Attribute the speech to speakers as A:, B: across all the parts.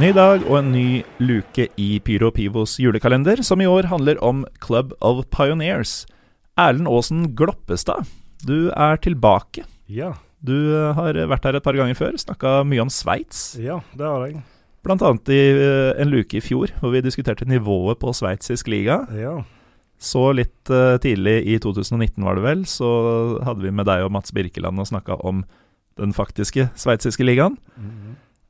A: Ny dag og en ny luke i Pyro Pivos julekalender, som i år handler om Club of Pioneers. Erlend Aasen Gloppestad, du er tilbake.
B: Ja,
A: Du eh, har vært her et par ganger før, snakka mye om Sveits.
B: ja, det har jeg.
A: Blant annet i eh, en luke i fjor, hvor vi diskuterte nivået på sveitsisk liga.
B: Ja,
A: Så litt eh, tidlig i 2019 var det vel, så hadde vi med deg og Mats Birkeland og snakka om den faktiske sveitsiske ligaen.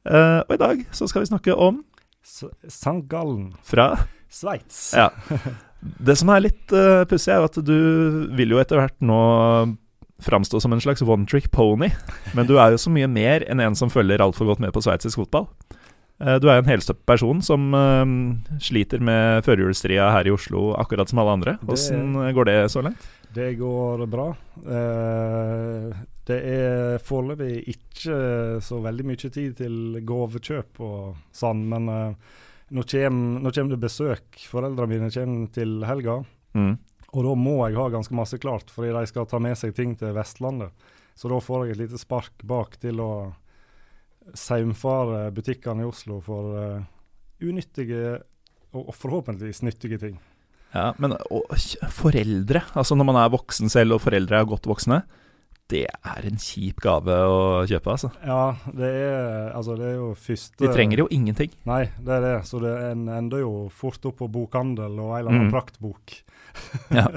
A: Eh, og i dag så skal vi snakke om
B: S St. Gallen,
A: fra
B: Sveits.
A: Ja. Det som er litt uh, pussig, er at du vil jo etter hvert nå framstå som en slags one trick pony, men du er jo så mye mer enn en som følger altfor godt med på sveitsisk fotball. Eh, Du er jo en helstøpt person som eh, sliter med førjulsstria her i Oslo, akkurat som alle andre. Åssen eh, går det så langt?
B: Det går bra. Eh, det er foreløpig ikke så veldig mye tid til gavekjøp og sånn, men eh, nå kommer det besøk. Foreldrene mine kommer til helga,
A: Mm.
B: og da må jeg ha ganske masse klart, fordi de skal ta med seg ting til Vestlandet. Så da får jeg et lite spark bak til å saumfare butikkene i Oslo for eh, unyttige og og forhåpentligvis nyttige ting.
A: Ja, men å, kj- foreldre, altså når man er voksen selv og foreldre er godt voksne, det er en kjip gave å kjøpe, altså.
B: Ja, det er, altså det er jo første
A: De trenger jo ingenting.
B: Nei, det er det. Så det en ender jo fort opp på bokhandel og en eller annen
A: Mm.
B: praktbok.
A: Ja.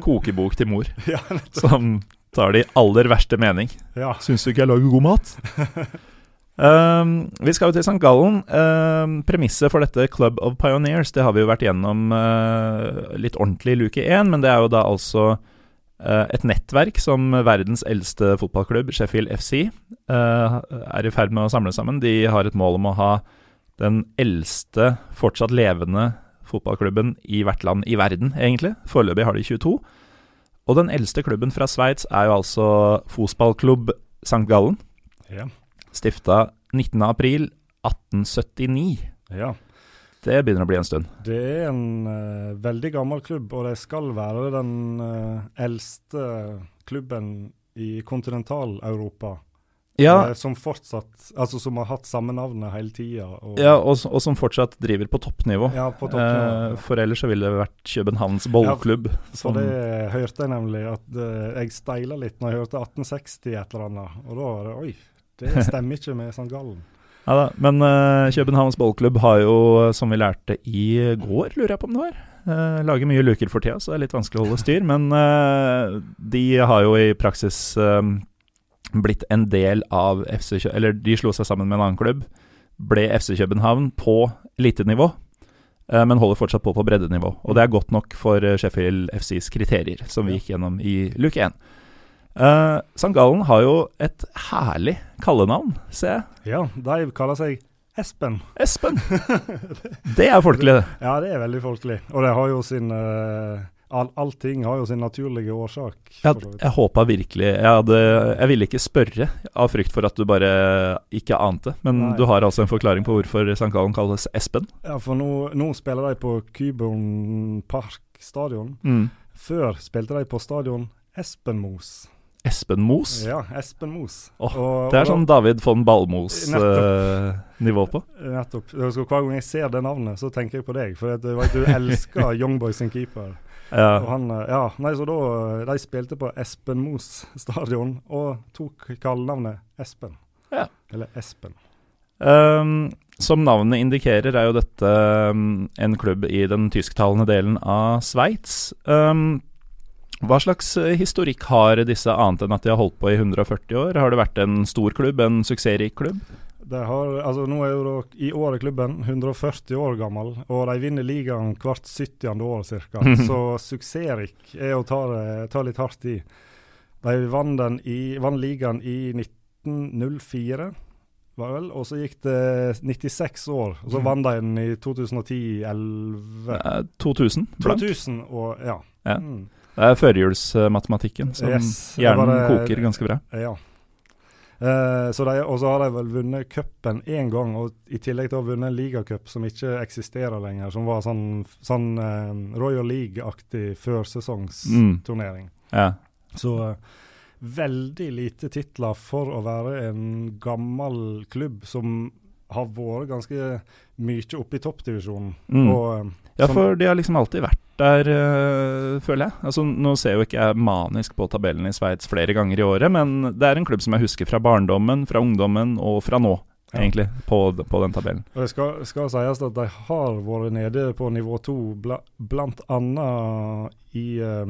A: Kokebok til mor.
B: Ja,
A: som tar det i aller verste mening.
B: Ja.
A: Syns du ikke jeg lager god mat? um, vi skal jo til St. Gallen. Um, premisset for dette Club of Pioneers det har vi jo vært gjennom uh, litt ordentlig i luke én, men det er jo da altså uh, et nettverk som verdens eldste fotballklubb, Sheffield FC, uh, er i ferd med å samle sammen. De har et mål om å ha den eldste fortsatt levende fotballklubben i hvert land i verden, egentlig. Foreløpig har de 22. Og den eldste klubben fra Sveits er jo altså fotballklubb St. Gallen,
B: Ja.
A: stifta 19.4.1879.
B: ja.
A: Det begynner å bli en stund.
B: Det er en eh, veldig gammel klubb, og det skal være den eh, eldste klubben i kontinental-Europa. eh, Som fortsatt Altså som har hatt samme navnet hele tida.
A: ja og, s- og som fortsatt driver på toppnivå.
B: ja, på toppen.
A: Eh, sånn. for ellers så ville det vært Københavns bollklubb.
B: For det hørte jeg nemlig, at eh, jeg steila litt når jeg hørte 1860 et eller annet. Og da var det Oi, det stemmer ikke med sånn St. Gallen.
A: Ja da, men eh, Københavns bollklubb har jo, eh, som vi lærte i går, lurer jeg på om det var, eh, lager mye luker for tida, så det er litt vanskelig å holde styr. Men eh, de har jo i praksis eh, blitt en del av FC Kø... Eller de slo seg sammen med en annen klubb, ble FC København på elitenivå, eh, men holder fortsatt på på breddenivå. Og det er godt nok for eh, Sheffield FCs kriterier, som vi gikk gjennom i luke én. Eh, St. Gallen har jo et herlig kallenavn, ser jeg.
B: Ja, de kaller seg Espen.
A: Espen! Det er folkelig, det.
B: Ja, det er veldig folkelig. Og det har jo sin eh, all, Allting har jo sin naturlige årsak. for
A: Jeg,
B: så vidt.
A: jeg håpa virkelig jeg, hadde, jeg ville ikke spørre av frykt for at du bare ikke ante, men
B: Nei.
A: du har altså en forklaring på hvorfor St. Gallen kalles Espen.
B: Ja, for nå, nå spiller de på Kyborn Park stadion.
A: Mm.
B: Før spilte de på stadion Espenmos.
A: Espen Mos.
B: Ja, Espenmos.
A: Åh,
B: Og-
A: det er
B: og da-
A: sånn David von Ballmos-nivå på.
B: Nettopp. Så Hver gang jeg ser det navnet, så tenker jeg på deg. For at du, vet, du elsker Youngboy sin keeper. Og
A: Ja.
B: han, eh, ja, nei, så da, eh, De spilte på Espenmos stadion og tok kallenavnet Espen.
A: Ja.
B: Eller Espen.
A: Um, som navnet indikerer, er jo dette ehm, um, en klubb i den tysktalende delen av Sveits. Um, Hva slags eh, historikk har disse, annet enn at de har holdt på i 140 år? Har det vært en stor klubb, en suksessrik klubb?
B: De har, altså nå er jo da, I år er klubben 140 år gammel, og de vinner ligaen hvert 70. år ca. Så suksessrik er å ta, det- ta litt hardt i. De vant, den i, vant ligaen i 1904, var det vel, og så gikk det 96 år. Og så
A: Mm.
B: vant de den i 2010-11.
A: Eh, 2000 blank.
B: 2000 og ja.
A: Ja.
B: Mm.
A: Det er førjulsmatematikken som
B: Yes, jeg
A: hjernen
B: bare-
A: koker ganske bra.
B: Ja. Eh, så de, og så har de vel vunnet cupen én gang, og i tillegg til å ha vunnet en ligacup som ikke eksisterer lenger, som var sånn, sånn eh, Royal League-aktig
A: Mm.
B: førsesongsturnering.
A: Ja.
B: Så eh, veldig lite titler for å være en gammel klubb som har vært ganske mye oppe i toppdivisjonen.
A: Mm.
B: Og eh,
A: Ja,
B: som-
A: for de har liksom alltid vært der, øh, føler jeg. Altså, nå ser jo ikke jeg manisk på tabellen i Sveits flere ganger i året, men det er en klubb som jeg husker fra barndommen, fra ungdommen og fra nå,
B: Ja.
A: egentlig, på, d- på den tabellen.
B: Og det skal, skal sies at de har vært nede på nivå to, bla, blant annet i eh,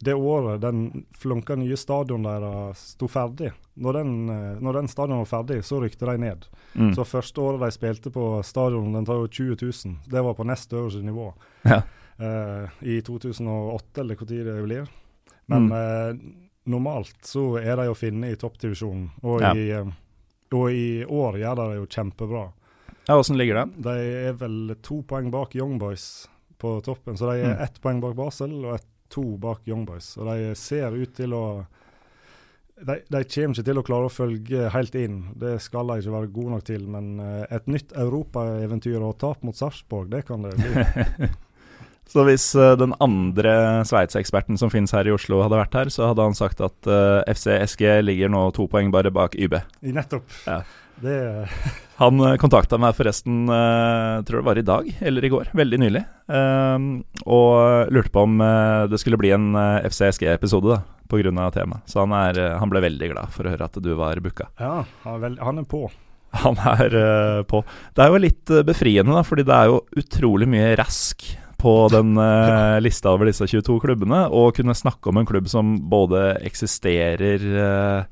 B: det året den flunka nye stadion deres sto ferdig. Når den, eh, når den stadion var ferdig, så rykte de ned.
A: Mm.
B: Så første året de spilte på stadion, den tar jo 20 000. Det var på nest øverste nivå.
A: Ja.
B: Eh, I 2008, eller hvor tid det blir. Men
A: Mm.
B: eh, normalt så er de å finne i toppdivisjonen, og,
A: Ja.
B: i, eh, og i år gjør de det jo kjempebra.
A: Ja, Åssen ligger den?
B: De er vel to poeng bak Young Boys på toppen, så de er
A: Mm.
B: ett poeng bak Basel og ett, to bak Young Boys. Og de ser ut til å de, de kommer ikke til å klare å følge helt inn, det skal de ikke være gode nok til. Men eh, et nytt europaeventyr og tap mot Sarpsborg, det kan det bli.
A: Så hvis øh, den andre Sveits-eksperten som finnes her i Oslo hadde vært her, så hadde han sagt at øh, FC SG ligger nå to poeng bare bak YB.
B: I Nettopp.
A: Ja.
B: Det,
A: Han eh, kontakta meg forresten, eh, tror det var i dag eller i går, veldig nylig. ehm, og lurte på om eh, det skulle bli en eh, FCSG-episode da, pga. temaet. Så han, er, eh, han ble veldig glad for å høre at du var booka.
B: ja, han er, vel, han er på.
A: Han er eh, på. Det er jo litt eh, befriende, da, fordi det er jo utrolig mye rask på den eh, lista over disse 22 klubbene. Å kunne snakke om en klubb som både eksisterer eh,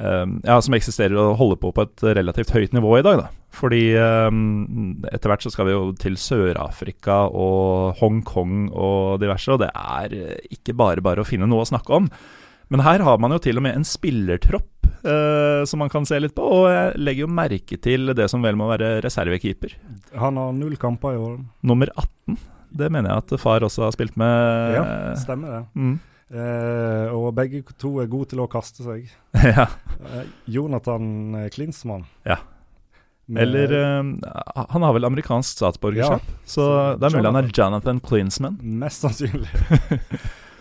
A: eh, Ja, som eksisterer og holder på på et relativt høyt nivå i dag, da. Fordi eh, etter hvert så skal vi jo til Sør-Afrika og Hongkong og diverse, og det er eh, ikke bare bare å finne noe å snakke om. Men her har man jo til og med en spillertropp eh, som man kan se litt på. Og jeg legger jo merke til det som vel må være reservekeeper.
B: Han har null kamper i år.
A: Nummer 18. Det mener jeg at far også har spilt med.
B: Ja, stemmer det.
A: Mm.
B: Eh, og begge to er gode til å kaste seg.
A: ja.
B: Eh, Jonathan eh, Klinsmann.
A: Ja.
B: Med-
A: Eller eh, han har vel amerikansk statsborgerskap, så det er mulig han er Jonathan Klinsman.
B: Mest sannsynlig.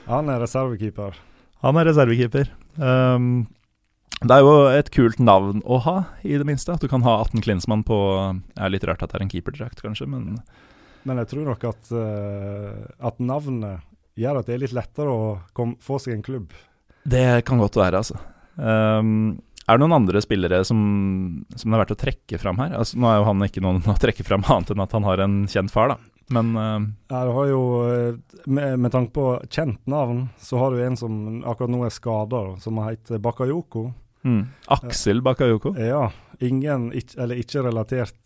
B: Han er reservekeeper.
A: Han er reservekeeper. Ehm, det er jo et kult navn å ha, i det minste. At du kan ha 18 Klinsmann på Det er litt rart at det er en keeperdrakt, kanskje, men
B: Men jeg tror nok at, eh, at navnet gjør at det er litt lettere å kom, få seg en klubb.
A: Det kan godt være, altså. Ehm, er det noen andre spillere som, som det er verdt å trekke fram her? Altså, nå er jo han ikke noen å trekke fram annet enn at han har en kjent far, da. Men ehm,
B: Ja, du har jo, eh, med, med tanke på kjent navn, så har du en som akkurat nå er skada, som heter Bakayoko.
A: mm, Aksel Bakayoko.
B: Ja, ingen, ikk- eller ikke relatert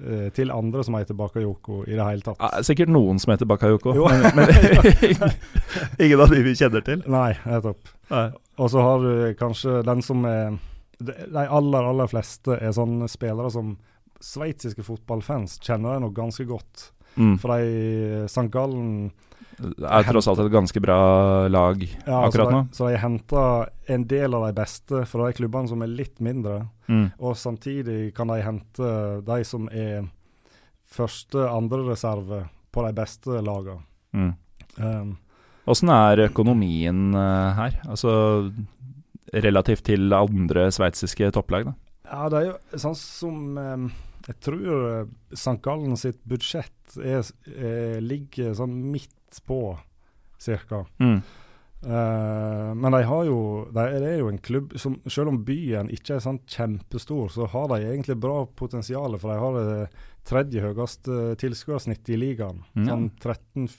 B: eh, til andre som heter Bakayoko i det hele tatt.
A: Eh, Sikkert noen som heter Bakayoko,
B: Jo.
A: men, men ingen av de vi kjenner til.
B: Nei, nettopp.
A: Nei.
B: Og så har du kanskje den som er De de aller, aller fleste er sånne spillere som sveitsiske fotballfans kjenner de nok ganske godt.
A: Mm.
B: For de St. Gallen
A: Det er tross alt et ganske bra lag
B: ja,
A: akkurat nå.
B: Så de, så de henter en del av de beste fra de klubbene som er litt mindre.
A: Mm.
B: Og samtidig kan de hente de som er første, andre reserve på de beste lagene.
A: Mm.
B: Um,
A: Åssen er økonomien eh, her? Altså relativt til andre sveitsiske topplag, da.
B: Ja, det er jo sånn som eh, Jeg tror eh, St. Gallen sitt budsjett er, eh, ligger sånn midt på, cirka.
A: Mm.
B: Eh, men de har jo, de, det er jo en klubb som selv om byen ikke er sånn kjempestor, så har de egentlig bra potensial. For de har det tredje høyeste eh, tilskuersnittet i ligaen.
A: Mm.
B: Sånn 13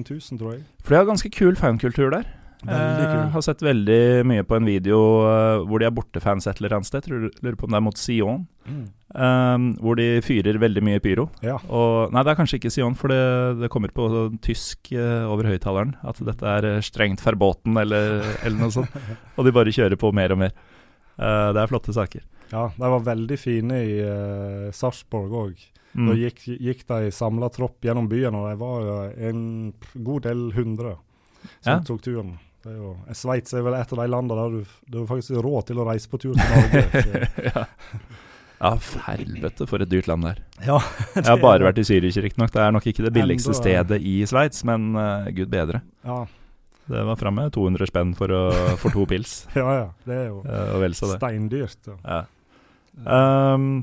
B: 000-14 000, tror jeg.
A: For de har ganske kul fankultur der.
B: Veldig
A: Eh,
B: kul.
A: har sett veldig mye på en video eh, hvor de er bortefans et eller annet sted. Tror, lurer på om det er mot Sion.
B: Mm.
A: eh, hvor de fyrer veldig mye pyro.
B: Ja.
A: Og, nei, det er kanskje ikke Sion, for det, det kommer på tysk eh, over høyttaleren at dette er eh, strengt verboten eller, eller noe sånt. Og de bare kjører på mer og mer. Eh, det er flotte saker.
B: Ja, de var veldig fine i eh, Sarpsborg òg.
A: Mm.
B: Da gikk, gikk de samla tropp gjennom byen, og de var jo en god del hundre som
A: Ja.
B: tok turen. Det er jo, Sveits er vel et av de landene der du, du har faktisk råd til å reise på tur til Norge. Så-
A: ja. ja, for helvete for et dyrt land der.
B: ja,
A: Jeg har bare vært i Zürich, riktignok. Det er nok ikke det billigste
B: Enda-
A: stedet i Sveits, men eh, gud bedre.
B: ja,
A: Det var framme 200 spenn for, å, for to pils,
B: ja, ja. Det er jo
A: eh, og vel så det.
B: steindyrt. Ja.
A: Ja. Ehm,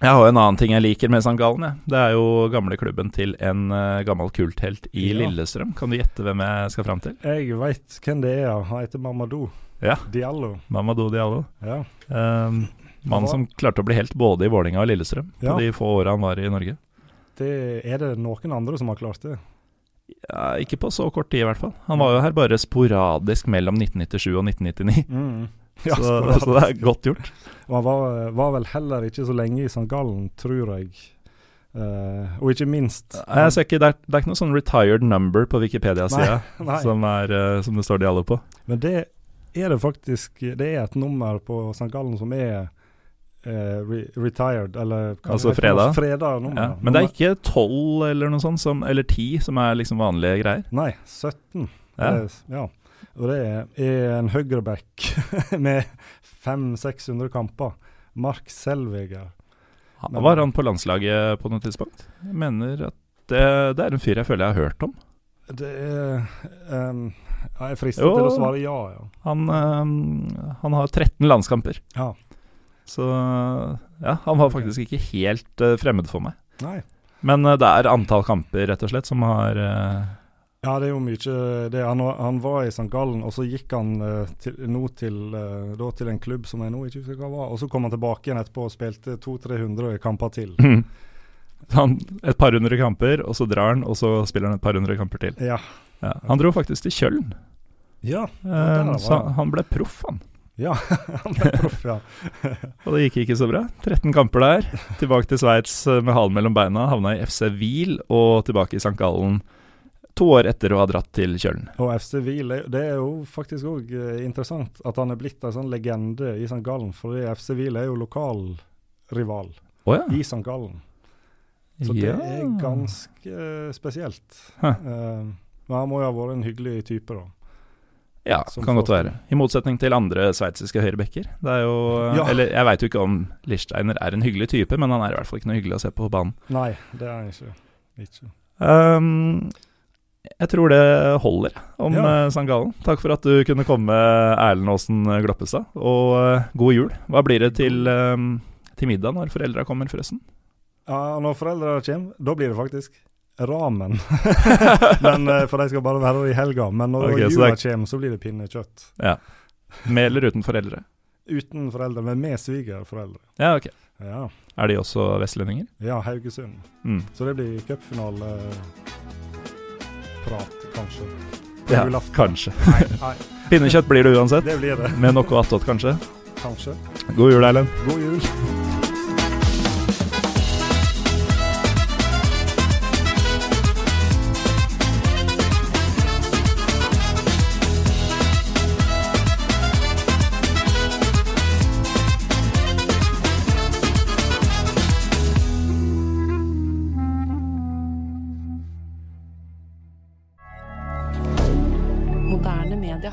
A: jeg har jo en annen ting jeg liker med St. Gallen. Jeg. Det er jo gamle klubben til en eh, gammel kulthelt i
B: Ja.
A: Lillestrøm. Kan du gjette hvem jeg skal fram til?
B: Jeg veit hvem det er. Han heter Mamadou
A: Ja.
B: Diallo.
A: Mamadou Diallo.
B: Ja.
A: Um, Mann
B: Hva?
A: som klarte å bli helt både i Vålinga og Lillestrøm
B: Ja.
A: på de få åra han var i Norge.
B: Det, er det noen andre som har klart det?
A: Ja, ikke på så kort tid, i hvert fall. Han var jo her bare sporadisk mellom 1997 og 1999.
B: Mm. Ja,
A: så,
B: sporadisk.
A: så det er godt gjort.
B: Og han var, var vel heller ikke så lenge i St. Gallen, tror jeg. Eh, og ikke minst
A: Jeg ser ikke, det, er, det er ikke noe sånn retired number på Wikipedia-sida
B: Nei,
A: som, er, eh, som det står Diallo på.
B: Men det er det faktisk Det er et nummer på St. Gallen som er eh, re retired, eller hva
A: Altså
B: heter det?
A: fredag?
B: fredag nummer.
A: Ja, men det er ikke tolv eller noe sånt, som, eller ti, som er liksom vanlige greier.
B: Nei, 17.
A: Ja.
B: Det er- ja. Og det er, er en høyreback med 500-600 kamper. Mark Selveger.
A: Han- Var han på landslaget på noe tidspunkt? Jeg mener at det, det er en fyr jeg føler jeg har hørt om.
B: Det er ehm, ja, Jeg er fristet
A: Jo.
B: til å svare ja, ja.
A: Han, eh, han har 13 landskamper.
B: Ja.
A: Så ja, han var faktisk ikke helt eh, fremmed for meg.
B: Nei.
A: Men eh, det er antall kamper, rett og slett, som har eh,
B: Ja, det er jo mye det. Han, var- han var i St. Gallen, og så gikk han eh, til, nå til, eh, da til en klubb som jeg nå ikke husker hva var, og så kom han tilbake igjen etterpå og spilte 200-300 kamper til.
A: han, et par hundre kamper, og så drar han, og så spiller han et par hundre kamper til.
B: Ja.
A: Ja, han dro faktisk til Kjøln,
B: Ja,
A: eh,
B: der
A: så
B: var han.
A: han ble proff, han.
B: ja. han ble proff, ja.
A: Og det gikk ikke så bra. 13 kamper der. Tilbake til Sveits eh, med halen mellom beina. Havna i FC Wiel og tilbake i St. Gallen to år etter å ha dratt til Kjølen.
B: Og FC Wiel, er- det er jo faktisk òg interessant at han er blitt en sånn legende i St. Gallen, fordi FC Wiel er jo lokalrival
A: Å
B: i St. Gallen. Så det er ganske eh, spesielt.
A: Hæ.
B: Eh, men han må jo ha vært en hyggelig type, da.
A: Ja,
B: som
A: kan godt
B: folk-
A: være. I motsetning til andre sveitsiske høyrebekker. Det er jo eh,
B: Ja.
A: Eller jeg veit jo ikke om Lichsteiner er en hyggelig type, men han er i hvert fall ikke noe hyggelig å se på på banen.
B: Nei, det er han ikke. ikke.
A: Ehm, jeg tror det holder om
B: Ja.
A: eh, St. Gallen. Takk for at du kunne komme, Erlend Aasen Gloppestad. Og eh, god jul. Hva blir det til, ehm, til middag når foreldra kommer, forresten?
B: Ja, når foreldre kommer, da blir det faktisk ramen. Men, eh, for de skal bare være der i helga. Men når
A: Ok, så
B: jula
A: det
B: kommer, så blir det pinnekjøtt.
A: Med eller uten foreldre?
B: Uten foreldre, men med svigerforeldre.
A: Ja, ok.
B: Ja.
A: Er de også vestlendinger?
B: ja, Haugesund.
A: Mm.
B: Så det blir cupfinaleprat, kanskje. På
A: Ja,
B: julaften.
A: kanskje.
B: Nei, nei,
A: Pinnekjøtt blir det uansett,
B: det blir det.
A: med noe attåt, kanskje.
B: Kanskje.
A: God jul, Erlend.
B: God jul.
C: Moderne media.